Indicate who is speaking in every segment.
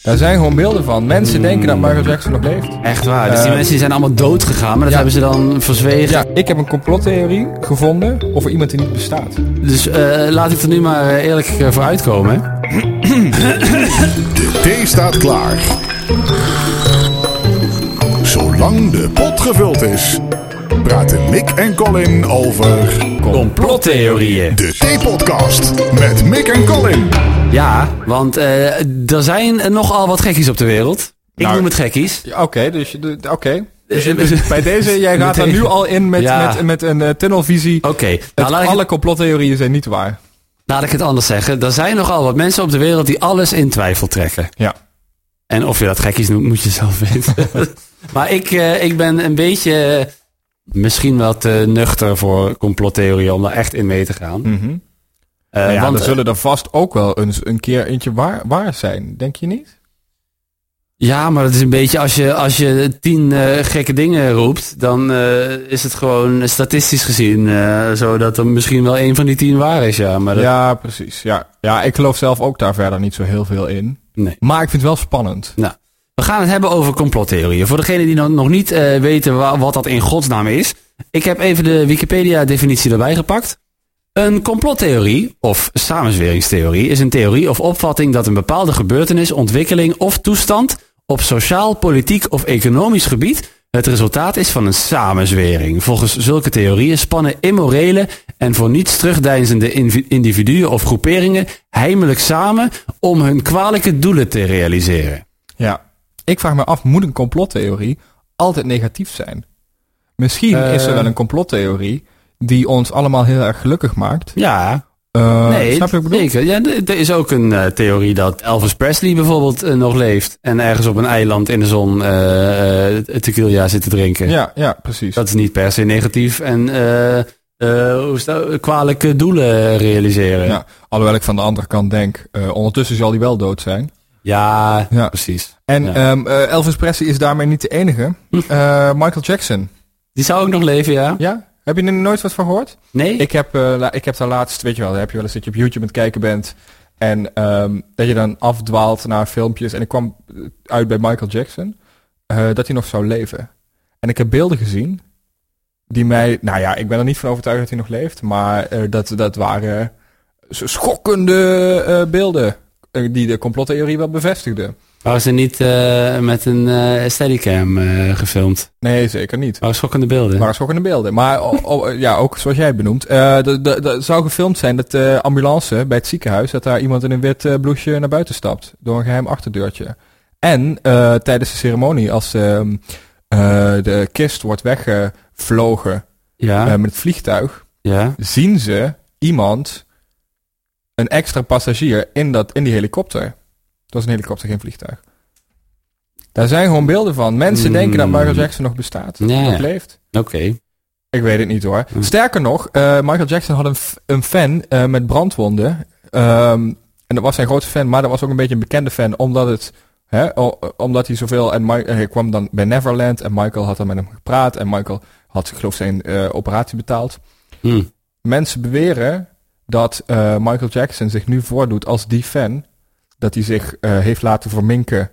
Speaker 1: Daar zijn gewoon beelden van. Mensen denken dat Michael Jackson nog leeft.
Speaker 2: Echt waar. Dus die
Speaker 1: Eh,
Speaker 2: mensen die zijn allemaal dood gegaan, maar dat
Speaker 1: ja.
Speaker 2: hebben ze dan verzwegen.
Speaker 1: Ja, ik heb een complottheorie gevonden over iemand die niet bestaat.
Speaker 2: Dus eh, laat ik er nu maar eh, eerlijk eh, voor uitkomen. hè.
Speaker 3: De thee staat klaar. Zolang de pot gevuld is, praten Mick en Colin over
Speaker 2: Complottheorieën.
Speaker 3: de Thee-podcast met Mick en Colin.
Speaker 2: Ja, want eh, er zijn nogal wat gekkies op de wereld. Ik
Speaker 1: Nou,
Speaker 2: noem het gekkies.
Speaker 1: Ja, Oké, dus, je doet- oké. Dus je- dus bij deze, jij gaat daar
Speaker 2: Meteen.
Speaker 1: nu al in met,
Speaker 2: Ja.
Speaker 1: met, met een eh, tunnelvisie.
Speaker 2: Oké, nou,
Speaker 1: Het-
Speaker 2: laat, ik
Speaker 1: alle
Speaker 2: het-
Speaker 1: complottheorieën zijn niet waar.
Speaker 2: laat ik het anders zeggen. Er zijn nogal wat mensen op de wereld die alles in twijfel trekken.
Speaker 1: Ja.
Speaker 2: En of je dat gekkies noemt, moet je zelf weten. maar ik, eh, ik ben een beetje eh, misschien wel te nuchter voor complottheorieën om daar echt in mee te gaan. Eh,
Speaker 1: Mhm. Nou ja,
Speaker 2: want,
Speaker 1: er zullen er vast ook wel eens een keer eentje waar, waar zijn, denk je niet?
Speaker 2: Ja, maar dat is een beetje als je, als je tien eh, gekke dingen roept, dan eh, is het gewoon statistisch gezien eh, zo dat er misschien wel één van die tien waar is. Ja, maar dat,
Speaker 1: Ja, precies. Ja. ja, ik geloof zelf ook daar verder niet zo heel veel in.
Speaker 2: Nee.
Speaker 1: Maar ik vind het wel spannend.
Speaker 2: Nou, we gaan het hebben over complottheorieën. Voor degenen die nog, nog niet eh, weten wa- wat dat in godsnaam is. Ik heb even de Wikipedia-definitie erbij gepakt. Een complottheorie, of samenzweringstheorie, is een theorie of opvatting dat een bepaalde gebeurtenis, ontwikkeling of toestand op sociaal, politiek of economisch gebied het resultaat is van een samenzwering. Volgens zulke theorieën spannen immorele en voor niets terugdeinzende invi- individuen of groeperingen heimelijk samen om hun kwalijke doelen te realiseren.
Speaker 1: Ja. Ik vraag me af, moet een complottheorie altijd negatief zijn? Misschien
Speaker 2: Eh.
Speaker 1: is er wel een complottheorie die ons allemaal heel erg gelukkig maakt.
Speaker 2: Ja,
Speaker 1: Eh,
Speaker 2: nee,
Speaker 1: snap je wat ik bedoel?
Speaker 2: zeker. Ja, d- er is ook een eh, theorie dat Elvis Presley bijvoorbeeld eh, nog leeft en ergens op een eiland in de zon eh, eh, tequila zit te drinken.
Speaker 1: Ja, ja, precies.
Speaker 2: Dat is niet per se negatief en eh, eh, hoe is dat? kwalijke doelen realiseren. Ja,
Speaker 1: Ja. Alhoewel ik van de andere kant denk, eh, ondertussen zal hij wel dood zijn. Ja.
Speaker 2: precies.
Speaker 1: En
Speaker 2: Ja. Hm.
Speaker 1: ehm, eh, Elvis Presley is daarmee niet de enige. Eh, Michael Jackson.
Speaker 2: Die zou ook nog leven, ja?
Speaker 1: Ja? Heb je er nooit wat van gehoord?
Speaker 2: Nee?
Speaker 1: Ik heb, eh, la- ik heb daar laatst, weet je wel, daar heb je wel eens dat je op YouTube aan het kijken bent. En ehm, dat je dan afdwaalt naar filmpjes. En ik kwam eh, uit bij Michael Jackson. eh, dat hij nog zou leven. En ik heb beelden gezien. Die mij, nou ja, ik ben er niet van overtuigd dat hij nog leeft. Maar eh, dat, dat waren s- schokkende eh, beelden. eh, die de complottheorie wel bevestigden.
Speaker 2: Waren ze niet eh, met een eh steadicam eh, gefilmd?
Speaker 1: Nee, zeker niet.
Speaker 2: Waren schokkende beelden?
Speaker 1: Maar schokkende beelden. Maar o- o- ja, ook zoals jij het benoemt. eh, d- d- d- zou gefilmd zijn dat de ambulance bij het ziekenhuis... dat daar iemand in een wit eh, blouseje naar buiten stapt. Door een geheim achterdeurtje. En eh, tijdens de ceremonie als ehm, eh, de kist wordt weggevlogen
Speaker 2: ja,
Speaker 1: eh, met het vliegtuig...
Speaker 2: ja.
Speaker 1: zien ze iemand, een extra passagier, in, dat, in die helikopter. Dat was een helikopter, geen vliegtuig. Daar zijn gewoon beelden van. Mensen
Speaker 2: Mm.
Speaker 1: denken dat Michael Jackson nog bestaat.
Speaker 2: Ja.
Speaker 1: Nog leeft.
Speaker 2: Oké.
Speaker 1: Ik weet het niet hoor.
Speaker 2: Hm.
Speaker 1: Sterker nog, eh, Michael Jackson had een, f- een fan eh, met brandwonden. Ehm, en dat was zijn grootste fan, maar dat was ook een beetje een bekende fan, omdat het. Hè, o- omdat hij zoveel. En Mi- en hij kwam dan bij Neverland en Michael had dan met hem gepraat. En Michael had, ik geloof zijn eh, operatie betaald.
Speaker 2: Hm.
Speaker 1: Mensen beweren dat eh, Michael Jackson zich nu voordoet als die fan. Dat hij zich eh, heeft laten verminken.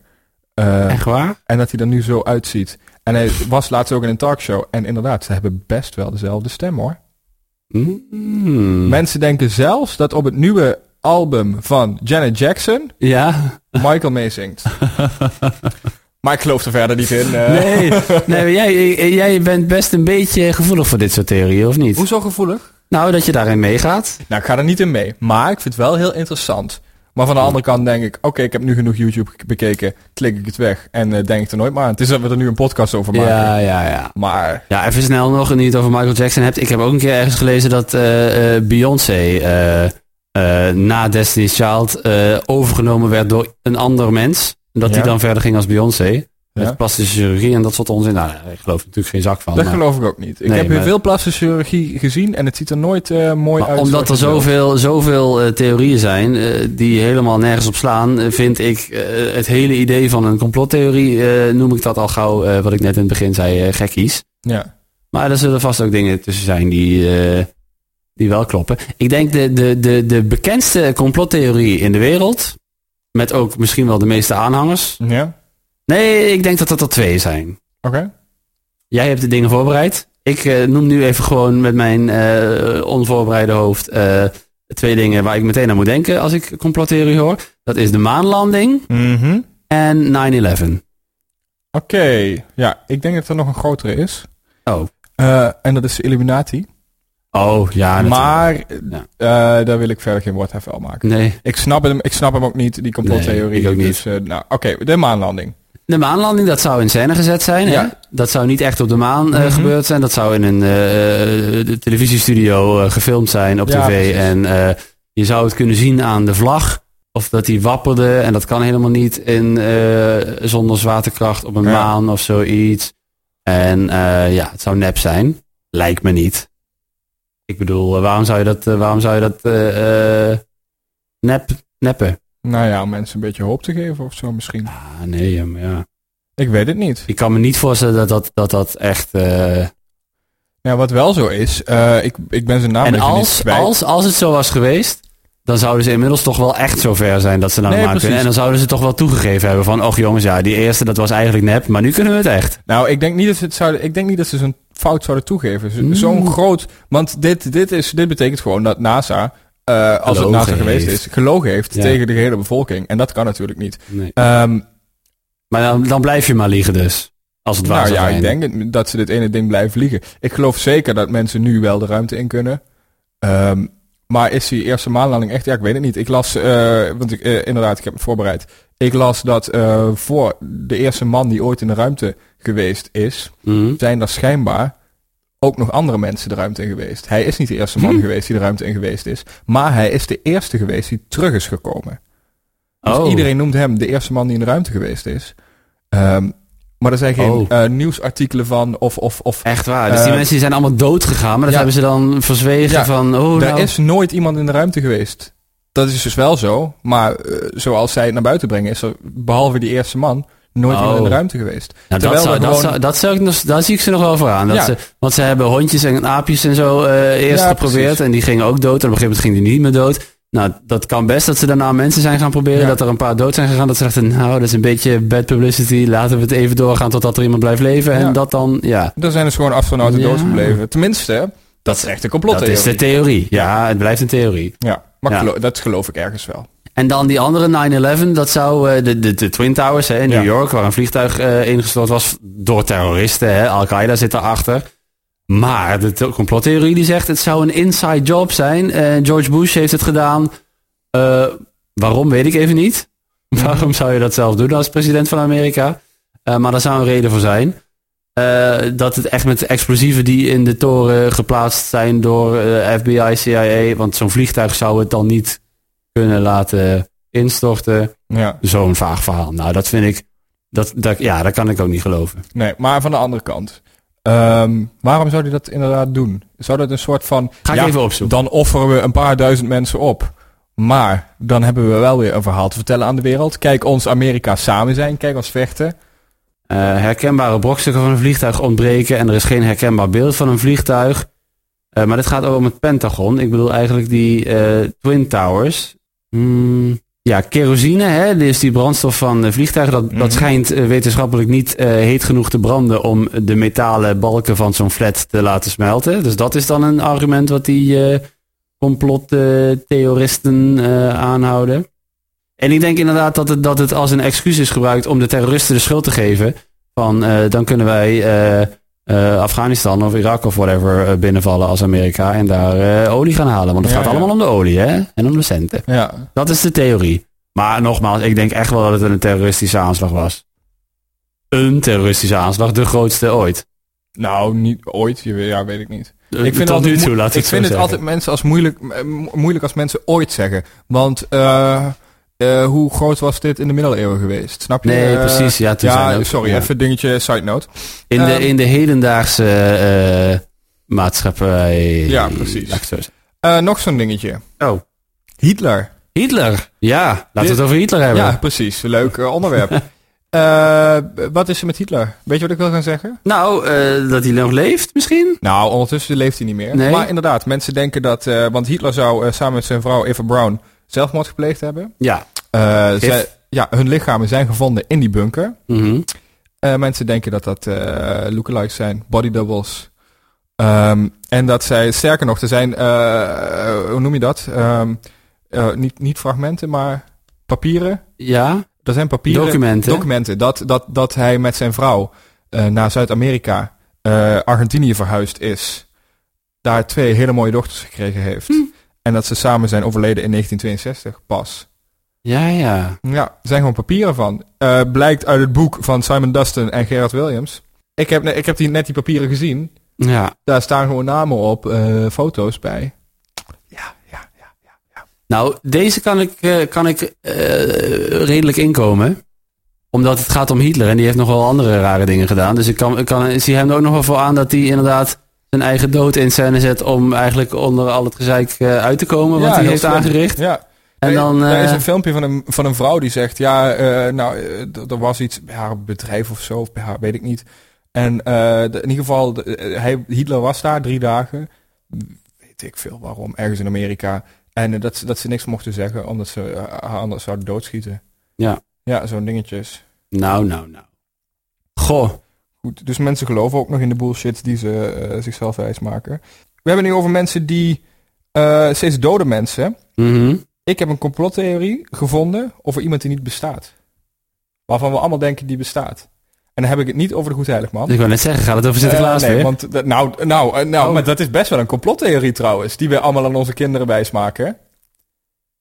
Speaker 1: eh,
Speaker 2: Echt waar?
Speaker 1: en dat hij er nu zo uitziet. En hij was laatst ook in een talkshow. En inderdaad, ze hebben best wel dezelfde stem hoor.
Speaker 2: Mm.
Speaker 1: Mensen denken zelfs dat op het nieuwe album van Janet Jackson
Speaker 2: Ja.
Speaker 1: Michael meezingt. maar ik geloof er verder niet in. eh.
Speaker 2: Nee, nee maar jij, jij bent best een beetje gevoelig voor dit soort theorieën, of niet?
Speaker 1: Hoezo gevoelig?
Speaker 2: Nou, dat je daarin meegaat.
Speaker 1: Nou, ik ga er niet in mee. Maar ik vind het wel heel interessant. Maar
Speaker 2: Mm.
Speaker 1: van de andere kant denk ik, oké, ik heb nu genoeg YouTube bekeken. Klik ik het weg en eh, denk ik er nooit maar aan. Het is dat we er nu een podcast over maken.
Speaker 2: Ja, ja, ja.
Speaker 1: Maar
Speaker 2: Ja, even snel nog, nu je het over Michael Jackson hebt. Ik heb ook een keer ergens gelezen dat eh, eh, Beyoncé eh, eh, na Destiny's Child eh, overgenomen werd door een ander mens. En dat
Speaker 1: Ja.
Speaker 2: die dan verder ging als Beyoncé.
Speaker 1: Ja.
Speaker 2: Met plastische chirurgie en dat soort onzin. Nou, ik geloof er natuurlijk geen zak van.
Speaker 1: dat
Speaker 2: maar-
Speaker 1: geloof ik ook niet. Ik
Speaker 2: Oh, Nee,
Speaker 1: heb heel
Speaker 2: maar-
Speaker 1: veel plastische chirurgie gezien en het ziet er nooit eh, mooi
Speaker 2: Maar
Speaker 1: uit.
Speaker 2: omdat er
Speaker 1: zoals je wil.
Speaker 2: zoveel, zoveel eh, theorieën zijn eh, die helemaal nergens op slaan, eh, vind ik eh, het hele idee van een complottheorie, eh, noem ik dat al gauw, eh, wat ik net in het begin zei, eh, gekkies.
Speaker 1: Ja.
Speaker 2: Maar er zullen vast ook dingen tussen zijn die, eh, die wel kloppen. Ik denk de, de, de, de bekendste complottheorie in de wereld Met ook misschien wel de meeste aanhangers.
Speaker 1: Ja?
Speaker 2: Nee, ik denk dat dat er twee zijn.
Speaker 1: Oké.
Speaker 2: Jij hebt de dingen voorbereid. Ik eh, noem nu even gewoon met mijn eh, onvoorbereide hoofd eh, twee dingen waar ik meteen aan moet denken als ik complottheorie hoor. Dat is de maanlanding
Speaker 1: Mhm.
Speaker 2: en 9-11.
Speaker 1: Oké. Ja, ik denk dat er nog een grotere is.
Speaker 2: Oh.
Speaker 1: Eh, en dat is de Illuminati.
Speaker 2: Oh, ja. natuurlijk.
Speaker 1: maar
Speaker 2: Ja.
Speaker 1: eh, daar wil ik verder geen woordheffel maken.
Speaker 2: Nee,
Speaker 1: Ik snap hem, ik snap hem ook niet, die complottheorie.
Speaker 2: Nee, ik ook niet.
Speaker 1: Dus, eh, nou, oké, de maanlanding.
Speaker 2: de maanlanding, dat zou in scène gezet zijn. hè?
Speaker 1: Ja.
Speaker 2: Dat zou niet echt op de maan eh,
Speaker 1: Mhm.
Speaker 2: gebeurd zijn. Dat zou in een eh, eh, televisiestudio eh, gefilmd zijn op
Speaker 1: Ja,
Speaker 2: tv.
Speaker 1: precies.
Speaker 2: En eh, je zou het kunnen zien aan de vlag. Of dat die wapperde. En dat kan helemaal niet in, eh, zonder zwaartekracht op een
Speaker 1: Ja.
Speaker 2: maan of zoiets. En eh, ja, het zou nep zijn. Lijkt me niet. Ik bedoel, eh, waarom zou je dat, eh, waarom zou je dat eh, eh, nep, neppen?
Speaker 1: Nou ja, om mensen een beetje hoop te geven of zo misschien.
Speaker 2: Ah, nee, ja, maar ja.
Speaker 1: Ik weet het niet.
Speaker 2: Ik kan me niet voorstellen dat dat, dat, dat echt... eh,
Speaker 1: Ja, Nou, wat wel zo is, eh, ik, ik ben zijn naam
Speaker 2: en
Speaker 1: even
Speaker 2: als,
Speaker 1: niet kwijt.
Speaker 2: als, als het zo was geweest, dan zouden ze inmiddels toch wel echt zo ver zijn dat ze naar de
Speaker 1: Nee,
Speaker 2: maan
Speaker 1: precies.
Speaker 2: kunnen. En dan zouden ze toch wel toegegeven hebben van, och jongens, ja, die eerste dat was eigenlijk nep, maar nu kunnen we het echt.
Speaker 1: Nou, ik denk niet dat ze, het zouden, ik denk niet dat ze zo'n fout zouden toegeven. Zo-
Speaker 2: Mm.
Speaker 1: Zo'n groot... Want dit, dit, is, dit betekent gewoon dat NASA, eh, als het
Speaker 2: Gelogen
Speaker 1: NASA geweest
Speaker 2: heeft.
Speaker 1: is, gelogen heeft
Speaker 2: Ja.
Speaker 1: tegen de hele bevolking. En dat kan natuurlijk niet.
Speaker 2: Nee.
Speaker 1: Ehm,
Speaker 2: Maar dan, dan blijf je maar liegen dus, als het waar
Speaker 1: nou
Speaker 2: zou
Speaker 1: ja,
Speaker 2: zijn.
Speaker 1: ik denk het- dat ze dit ene ding blijven liegen. Ik geloof zeker dat mensen nu wel de ruimte in kunnen. Ehm, maar is die eerste maanlanding echt? Ja, ik weet het niet. Ik las, eh, want ik, eh, inderdaad, ik heb me voorbereid. Ik las dat eh, voor de eerste man die ooit in de ruimte geweest is,
Speaker 2: Mhm.
Speaker 1: zijn er schijnbaar ook nog andere mensen de ruimte in geweest. Hij is niet de eerste
Speaker 2: Mhm.
Speaker 1: man geweest die de ruimte in geweest is, maar hij is de eerste geweest die terug is gekomen. Dus
Speaker 2: Oh.
Speaker 1: iedereen noemt hem de eerste man die in de ruimte geweest is. Ehm, maar er zijn geen
Speaker 2: Oh.
Speaker 1: eh, nieuwsartikelen van of... of, of
Speaker 2: Echt waar. Dus die
Speaker 1: Eh,
Speaker 2: mensen die zijn allemaal dood gegaan, maar dat
Speaker 1: ja.
Speaker 2: hebben ze dan verzwegen
Speaker 1: Ja,
Speaker 2: van, oh,
Speaker 1: er
Speaker 2: nou,
Speaker 1: is nooit iemand in de ruimte geweest. Dat is dus wel zo, maar eh, zoals zij het naar buiten brengen is er, behalve die eerste man, nooit
Speaker 2: Oh.
Speaker 1: iemand in de ruimte geweest.
Speaker 2: nou, dat
Speaker 1: terwijl
Speaker 2: zou,
Speaker 1: er
Speaker 2: dat
Speaker 1: gewoon-
Speaker 2: zou, dat zou ik nog, daar zie ik ze nog wel voor aan. Dat
Speaker 1: Ja.
Speaker 2: ze, want ze hebben hondjes en aapjes en zo eh, eerst
Speaker 1: Ja,
Speaker 2: geprobeerd
Speaker 1: precies.
Speaker 2: en die gingen ook dood. En op een gegeven moment gingen die niet meer dood. Nou, dat kan best dat ze daarna mensen zijn gaan proberen,
Speaker 1: Ja.
Speaker 2: dat er een paar dood zijn gegaan. Dat ze dachten, nou, dat is een beetje bad publicity. Laten we het even doorgaan totdat er iemand blijft leven. En
Speaker 1: Ja.
Speaker 2: dat dan, ja,
Speaker 1: Er zijn dus gewoon astronauten
Speaker 2: Ja.
Speaker 1: dood gebleven. Tenminste, dat is echt een
Speaker 2: dat
Speaker 1: complottheorie.
Speaker 2: is de theorie. Ja, het blijft een theorie.
Speaker 1: Ja, maar
Speaker 2: Ja.
Speaker 1: gelo- dat geloof ik ergens wel.
Speaker 2: En dan die andere 9-11, dat zou eh, de, de, de Twin Towers hè, in
Speaker 1: Ja.
Speaker 2: New York, waar een vliegtuig eh, ingestort was door terroristen. hè. Al-Qaeda zit daarachter. Maar de te- complottheorie die zegt, het zou een inside job zijn. Eh, George Bush heeft het gedaan. Eh, waarom, weet ik even niet. Waarom zou je dat zelf doen als president van Amerika? Eh, maar daar zou een reden voor zijn. Eh, dat het echt met explosieven die in de toren geplaatst zijn door eh, FBI, CIA. Want zo'n vliegtuig zou het dan niet kunnen laten instorten.
Speaker 1: Ja,
Speaker 2: Zo'n vaag verhaal. Nou, dat vind ik. Dat, dat, ja, dat kan ik ook niet geloven.
Speaker 1: nee, maar van de andere kant. ehm, waarom zou hij dat inderdaad doen? Zou dat een soort van...
Speaker 2: Ga ik
Speaker 1: ja,
Speaker 2: even opzoeken.
Speaker 1: dan offeren we een paar duizend mensen op. Maar dan hebben we wel weer een verhaal te vertellen aan de wereld. Kijk ons Amerika samen zijn. Kijk ons vechten.
Speaker 2: Eh, herkenbare brokstukken van een vliegtuig ontbreken en er is geen herkenbaar beeld van een vliegtuig. Eh, maar dit gaat ook om het Pentagon. Ik bedoel eigenlijk die eh, Twin Towers. Hmm, ja, kerosine, hè, dus die brandstof van eh, vliegtuigen, dat,
Speaker 1: Mhm.
Speaker 2: dat schijnt eh, wetenschappelijk niet eh, heet genoeg te branden om de metalen balken van zo'n flat te laten smelten. Dus dat is dan een argument wat die eh, complottheoristen eh, aanhouden. En ik denk inderdaad dat het, dat het als een excuus is gebruikt om de terroristen de schuld te geven. Van eh, dan kunnen wij eh, eh, Afghanistan of Irak of whatever eh, binnenvallen als Amerika en daar eh, olie gaan halen. Want het
Speaker 1: Ja,
Speaker 2: gaat
Speaker 1: ja.
Speaker 2: allemaal om de olie hè? en om de centen.
Speaker 1: Ja,
Speaker 2: Dat is de theorie. Maar nogmaals, ik denk echt wel dat het een terroristische aanslag was. Een terroristische aanslag, de grootste ooit.
Speaker 1: nou, niet ooit. Je weet- Ja, weet ik niet. Ik vind,
Speaker 2: Tot
Speaker 1: altijd
Speaker 2: nu
Speaker 1: moe-
Speaker 2: toe, laat ik,
Speaker 1: ik
Speaker 2: het zo
Speaker 1: vind het
Speaker 2: zeggen.
Speaker 1: altijd mensen als moeilijk, eh, mo- moeilijk als mensen ooit zeggen. Want eh, eh, hoe groot was dit in de middeleeuwen geweest? Snap je?
Speaker 2: Nee,
Speaker 1: Eh,
Speaker 2: precies. Ja, toen zijn
Speaker 1: Ja,
Speaker 2: ook-
Speaker 1: sorry.
Speaker 2: ja.
Speaker 1: Even dingetje, side note.
Speaker 2: In,
Speaker 1: Ehm,
Speaker 2: de, in de hedendaagse eh, maatschappij.
Speaker 1: Ja, precies.
Speaker 2: laat ik het zo zeggen.
Speaker 1: Eh, nog zo'n dingetje.
Speaker 2: Oh.
Speaker 1: Hitler.
Speaker 2: Hitler. Ja, laten we
Speaker 1: Dit-
Speaker 2: het over Hitler hebben.
Speaker 1: Ja, precies. Leuk eh, onderwerp. Eh, wat is er met Hitler? Weet je wat ik wil gaan zeggen?
Speaker 2: Nou, eh, dat hij nog leeft misschien?
Speaker 1: Nou, ondertussen leeft hij niet meer.
Speaker 2: Nee.
Speaker 1: Maar inderdaad, mensen denken dat... eh, want Hitler zou eh, samen met zijn vrouw Eva Brown zelfmoord gepleegd hebben.
Speaker 2: Ja.
Speaker 1: Eh,
Speaker 2: Gif.
Speaker 1: zij- ja, hun lichamen zijn gevonden in die bunker.
Speaker 2: Mhm.
Speaker 1: Eh, mensen denken dat dat eh lookalikes zijn, body doubles. Ehm, en dat zij, sterker nog, er zijn, eh, eh, hoe noem je dat? Ehm, eh, niet, niet fragmenten, maar papieren.
Speaker 2: Ja,
Speaker 1: Er zijn papieren.
Speaker 2: documenten.
Speaker 1: Documenten. Dat, dat, dat hij met zijn vrouw eh, naar Zuid-Amerika, eh, Argentinië verhuisd is. Daar twee hele mooie dochters gekregen heeft. En dat ze samen zijn overleden in 1962 pas.
Speaker 2: ja, ja.
Speaker 1: Ja, er zijn gewoon papieren van. Eh, blijkt uit het boek van Simon Dustin en Gerard Williams. Ik heb, ne- ik heb die, net die papieren gezien.
Speaker 2: Ja.
Speaker 1: Daar staan gewoon namen op, eh, foto's bij.
Speaker 2: Nou, deze kan ik, eh, kan ik eh, redelijk inkomen. Omdat het gaat om Hitler en die heeft nog wel andere rare dingen gedaan. Dus ik, kan, ik, kan, ik zie hem er ook nog wel voor aan dat hij inderdaad zijn eigen dood in scène zet om eigenlijk onder al het gezeik eh, uit te komen wat
Speaker 1: Ja,
Speaker 2: hij
Speaker 1: heel
Speaker 2: heeft
Speaker 1: slim.
Speaker 2: aangericht.
Speaker 1: Ja,
Speaker 2: En
Speaker 1: Er-
Speaker 2: dan,
Speaker 1: er is
Speaker 2: eh,
Speaker 1: een filmpje van een, van een vrouw die zegt... Ja, eh, nou, eh, d- er was iets bij haar bedrijf of zo, of bij haar, weet ik niet. En eh, de- in ieder geval, de- eh, hij, Hitler was daar drie dagen. Weet ik veel waarom, ergens in Amerika. En eh, dat, ze- dat ze niks mochten zeggen, omdat ze eh, haar anders zouden doodschieten.
Speaker 2: Ja.
Speaker 1: Ja, zo'n dingetjes.
Speaker 2: nou, nou, nou. Goh.
Speaker 1: Goed, dus mensen geloven ook nog in de bullshit die ze eh, zichzelf wijs maken. We hebben nu over mensen die... eh, steeds dode mensen.
Speaker 2: Mhm.
Speaker 1: Ik heb een complottheorie gevonden over iemand die niet bestaat. Waarvan we allemaal denken die bestaat. En dan heb ik het niet over de Goedheiligman.
Speaker 2: Dus ik wou net zeggen, gaat het over Sinterklaas
Speaker 1: Eh, nee,
Speaker 2: weer?
Speaker 1: want dat- nou, nou, eh, nou
Speaker 2: Oh.
Speaker 1: maar dat is best wel een complottheorie trouwens, die we allemaal aan onze kinderen wijsmaken.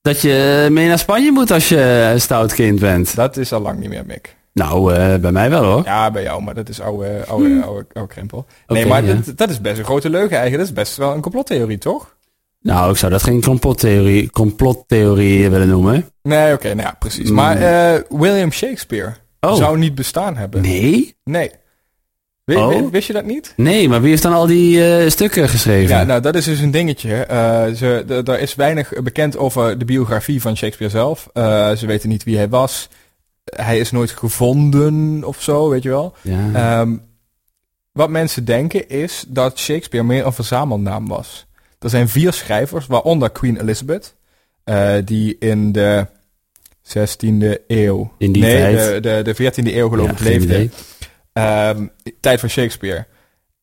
Speaker 2: Dat je eh, mee naar Spanje moet als je een stout kind bent.
Speaker 1: Dat is al lang niet meer, Mick.
Speaker 2: Nou, eh, bij mij wel hoor.
Speaker 1: Ja, bij jou, maar dat is oude, oude, oude, oude krempel. Nee,
Speaker 2: Hm. Oké,
Speaker 1: maar
Speaker 2: ja.
Speaker 1: dat, dat is best een grote leugen eigenlijk. Dat is best wel een complottheorie, toch?
Speaker 2: Nou, ik zou dat geen complottheorie, complottheorie willen noemen.
Speaker 1: Nee, oké, nou ja, precies.
Speaker 2: Mm.
Speaker 1: Maar eh, William Shakespeare
Speaker 2: Oh,
Speaker 1: zou niet bestaan hebben.
Speaker 2: nee?
Speaker 1: Nee. Wi-
Speaker 2: Oh.
Speaker 1: wi- Wist je dat niet?
Speaker 2: Nee, maar wie heeft dan al die eh, stukken geschreven?
Speaker 1: Ja, nou dat is dus een dingetje. Eh, ze, d- er is weinig bekend over de biografie van Shakespeare zelf. Eh, ze weten niet wie hij was. Hij is nooit gevonden of zo, weet je wel.
Speaker 2: Ja.
Speaker 1: Ehm, wat mensen denken is dat Shakespeare meer een verzamelnaam was. Er zijn vier schrijvers, waaronder Queen Elizabeth, eh, die in de 16e eeuw.
Speaker 2: In die
Speaker 1: nee,
Speaker 2: tijd.
Speaker 1: de, de, de 14e eeuw geloof
Speaker 2: Ja,
Speaker 1: ik
Speaker 2: geen
Speaker 1: leefde.
Speaker 2: idee.
Speaker 1: Ehm, tijd van Shakespeare.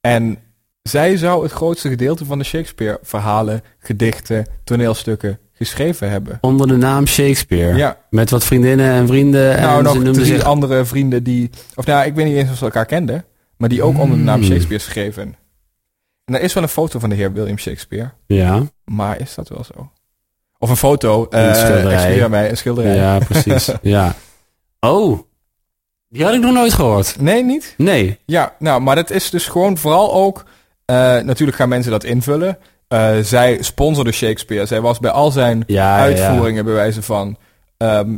Speaker 1: En zij zou het grootste gedeelte van de Shakespeare-verhalen, gedichten, toneelstukken geschreven hebben.
Speaker 2: Onder de naam Shakespeare.
Speaker 1: Ja,
Speaker 2: Met wat vriendinnen en vrienden.
Speaker 1: nou
Speaker 2: en
Speaker 1: nog
Speaker 2: ze noemden
Speaker 1: drie
Speaker 2: zich...
Speaker 1: andere vrienden die... Of nou, ik weet niet eens of ze elkaar kenden, maar die ook onder de naam
Speaker 2: Hmm.
Speaker 1: Shakespeare schreven. En er is wel een foto van de heer William Shakespeare,
Speaker 2: Ja,
Speaker 1: maar is dat wel zo? Of een foto, eh,
Speaker 2: schilderij.
Speaker 1: excuseer mij, een schilderij.
Speaker 2: ja, precies. ja. Oh, die had ik nog nooit gehoord.
Speaker 1: Nee, niet?
Speaker 2: Nee.
Speaker 1: Ja, nou, maar dat is dus gewoon vooral ook... eh, natuurlijk gaan mensen dat invullen. Eh, zij sponsorde Shakespeare. Zij was bij al zijn
Speaker 2: Ja, ja,
Speaker 1: uitvoeringen bij wijze van... ehm,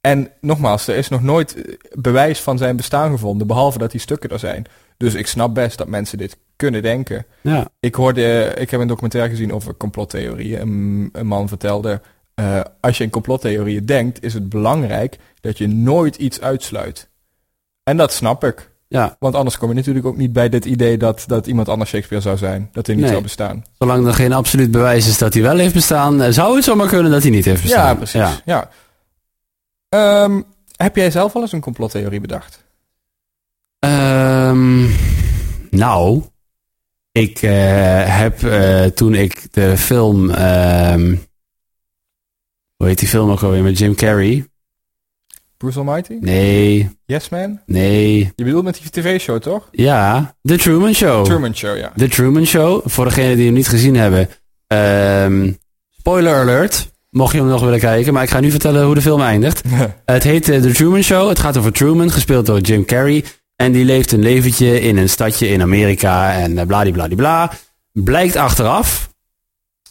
Speaker 1: en nogmaals, er is nog nooit eh, bewijs van zijn bestaan gevonden... behalve dat die stukken er zijn. Dus ik snap best dat mensen dit kunnen denken.
Speaker 2: ja.
Speaker 1: Ik hoorde, eh, ik heb een documentaire gezien over complottheorieën. Een, een man vertelde, eh, als je in complottheorieën denkt, is het belangrijk dat je nooit iets uitsluit. En dat snap ik.
Speaker 2: Ja.
Speaker 1: Want anders kom je natuurlijk ook niet bij dit idee dat, dat iemand anders Shakespeare zou zijn. Dat hij niet
Speaker 2: Nee.
Speaker 1: zou bestaan.
Speaker 2: Zolang er geen absoluut bewijs is dat hij wel heeft bestaan, eh, zou het zomaar kunnen dat hij niet heeft bestaan.
Speaker 1: Ja, precies. Ja. Ehm, heb jij zelf wel eens een complottheorie bedacht?
Speaker 2: Ehm, nou, ik eh, heb eh, toen ik de film, ehm, hoe heet die film ook alweer met Jim Carrey?
Speaker 1: Bruce Almighty?
Speaker 2: Nee,
Speaker 1: Yes Man?
Speaker 2: nee,
Speaker 1: Je bedoelt met die tv-show toch?
Speaker 2: ja, The Truman Show.
Speaker 1: Truman Show, ja.
Speaker 2: The Truman Show, voor degenen die hem niet gezien hebben. Ehm, spoiler alert, mocht je hem nog willen kijken, maar ik ga nu vertellen hoe de film eindigt. Het heet eh, The Truman Show. Het gaat over Truman, gespeeld door Jim Carrey. En die leeft een leventje in een stadje in Amerika en eh, bladibladibla. Blijkt achteraf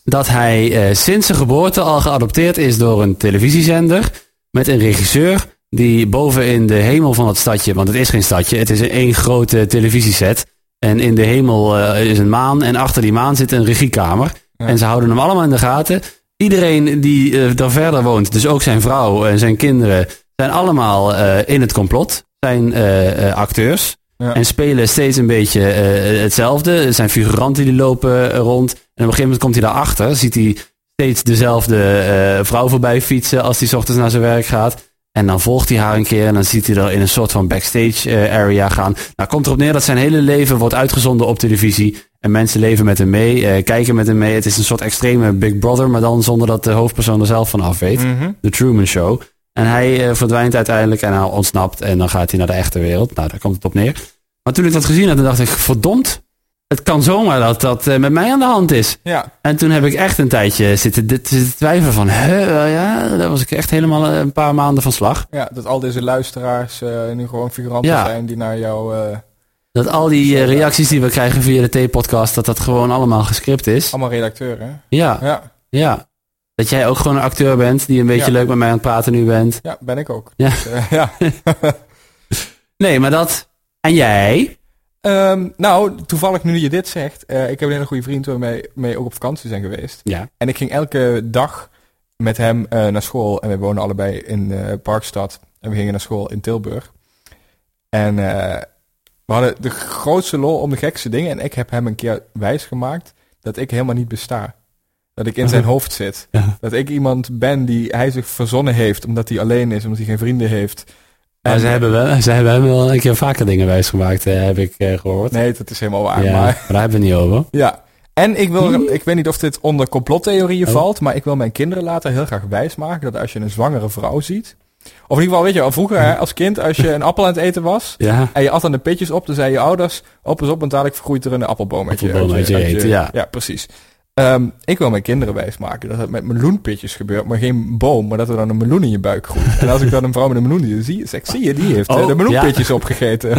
Speaker 2: dat hij eh, sinds zijn geboorte al geadopteerd is door een televisiezender met een regisseur die boven in de hemel van het stadje, want het is geen stadje, het is een één grote televisieset. En in de hemel eh, is een maan en achter die maan zit een regiekamer.
Speaker 1: Ja.
Speaker 2: En ze houden hem allemaal in de gaten. Iedereen die eh, daar verder woont, dus ook zijn vrouw en zijn kinderen, zijn allemaal eh, in het complot. Zijn eh, eh, acteurs.
Speaker 1: Ja.
Speaker 2: En spelen steeds een beetje eh, hetzelfde. Er zijn figuranten die lopen eh, rond. En op een gegeven moment komt hij daarachter. Ziet hij steeds dezelfde eh, vrouw voorbij fietsen als hij 's ochtends naar zijn werk gaat. En dan volgt hij haar een keer en dan ziet hij haar in een soort van backstage eh, area gaan. Nou, komt erop neer dat zijn hele leven wordt uitgezonden op televisie. En mensen leven met hem mee, eh, kijken met hem mee. Het is een soort extreme Big Brother, maar dan zonder dat de hoofdpersoon er zelf van af weet.
Speaker 1: Mhm.
Speaker 2: De Truman Show. En hij eh, verdwijnt uiteindelijk en hij ontsnapt en dan gaat hij naar de echte wereld. Nou, daar komt het op neer. Maar toen ik dat gezien had, dan dacht ik, verdomd, het kan zomaar dat dat eh, met mij aan de hand is.
Speaker 1: Ja.
Speaker 2: En toen heb ik echt een tijdje zitten, dit- zitten twijfelen van, hè, wel ja, daar was ik echt helemaal eh, een paar maanden van slag.
Speaker 1: ja, dat al deze luisteraars eh, nu gewoon figuranten
Speaker 2: Ja.
Speaker 1: zijn die naar jou eh,
Speaker 2: Dat al die eh, reacties die we krijgen via de T-podcast, dat dat gewoon allemaal gescript is.
Speaker 1: allemaal redacteuren.
Speaker 2: Ja,
Speaker 1: Ja.
Speaker 2: ja. Dat jij ook gewoon een acteur bent die een beetje
Speaker 1: Ja.
Speaker 2: leuk met mij aan het praten nu bent.
Speaker 1: ja, ben ik ook.
Speaker 2: Ja.
Speaker 1: Dus, eh, ja.
Speaker 2: Nee, maar dat... En jij?
Speaker 1: Ehm, nou, toevallig nu je dit zegt, eh, ik heb een hele goede vriend waarmee mee ook op vakantie zijn geweest.
Speaker 2: Ja.
Speaker 1: En ik ging elke dag met hem eh, naar school. En we wonen allebei in eh, Parkstad. En we gingen naar school in Tilburg. En eh, we hadden de grootste lol om de gekste dingen. En ik heb hem een keer wijsgemaakt dat ik helemaal niet besta. Dat ik in zijn hoofd zit.
Speaker 2: Ja.
Speaker 1: Dat ik iemand ben die hij zich verzonnen heeft omdat hij alleen is, omdat hij geen vrienden heeft.
Speaker 2: Maar
Speaker 1: En-
Speaker 2: ze hebben, wel, ze hebben hem wel een keer vaker dingen wijsgemaakt, eh, heb ik eh, gehoord.
Speaker 1: Nee, dat is helemaal waar.
Speaker 2: ja,
Speaker 1: Maar
Speaker 2: maar daar hebben we het niet over.
Speaker 1: Ja. En ik wil, ik weet niet of dit onder complottheorieën
Speaker 2: Oh.
Speaker 1: valt, maar ik wil mijn kinderen later heel graag wijsmaken dat als je een zwangere vrouw ziet, of in ieder geval, weet je, wel, vroeger hè, als kind, als je een appel aan het eten was
Speaker 2: Ja,
Speaker 1: en je at aan de pitjes op, dan zei je ouders, op eens op, want dadelijk groeit er een appelboom uit je,
Speaker 2: Appelboom uit je eten, ja.
Speaker 1: precies. Ehm, ik wil mijn kinderen wijsmaken dat het met meloenpitjes gebeurt, maar geen boom, maar dat er dan een meloen in je buik groeit. En als ik dan een vrouw met een meloen zie, zeg, zie je, die heeft eh,
Speaker 2: Oh,
Speaker 1: de meloenpitjes opgegeten.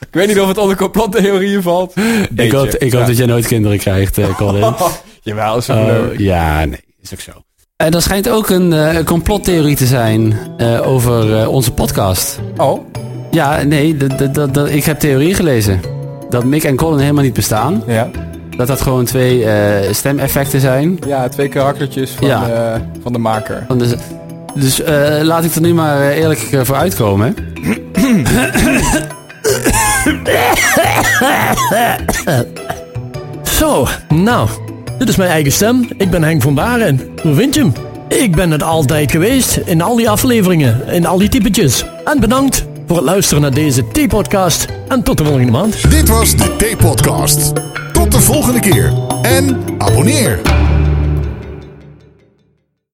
Speaker 1: ik weet niet of het onder complottheorieën valt.
Speaker 2: ik hoop, ik hoop
Speaker 1: Ja.
Speaker 2: dat jij nooit kinderen krijgt, eh, Colin.
Speaker 1: Jawel, is
Speaker 2: Oh,
Speaker 1: wel leuk.
Speaker 2: ja, nee, is ook zo. En er schijnt ook een eh, complottheorie te zijn eh, over eh, onze podcast.
Speaker 1: Oh,
Speaker 2: Ja, nee, dat- dat- dat- dat- ik heb theorie gelezen. Dat Mick en Colin helemaal niet bestaan.
Speaker 1: ja.
Speaker 2: Dat dat gewoon twee eh, stemeffecten zijn.
Speaker 1: Ja, twee karaktertjes van,
Speaker 2: Ja.
Speaker 1: eh, van de maker.
Speaker 2: Want Dus, dus eh, laat ik er nu maar eh, eerlijk eh, voor uitkomen.
Speaker 4: Zo, nou, dit is mijn eigen stem. Ik ben Henk van Baren. Hoe vind je hem? Ik ben het altijd geweest in al die afleveringen, in al die typetjes. En bedankt voor het luisteren naar deze T-podcast. En tot de volgende maand.
Speaker 3: Dit was de T-podcast. Tot de volgende keer en abonneer.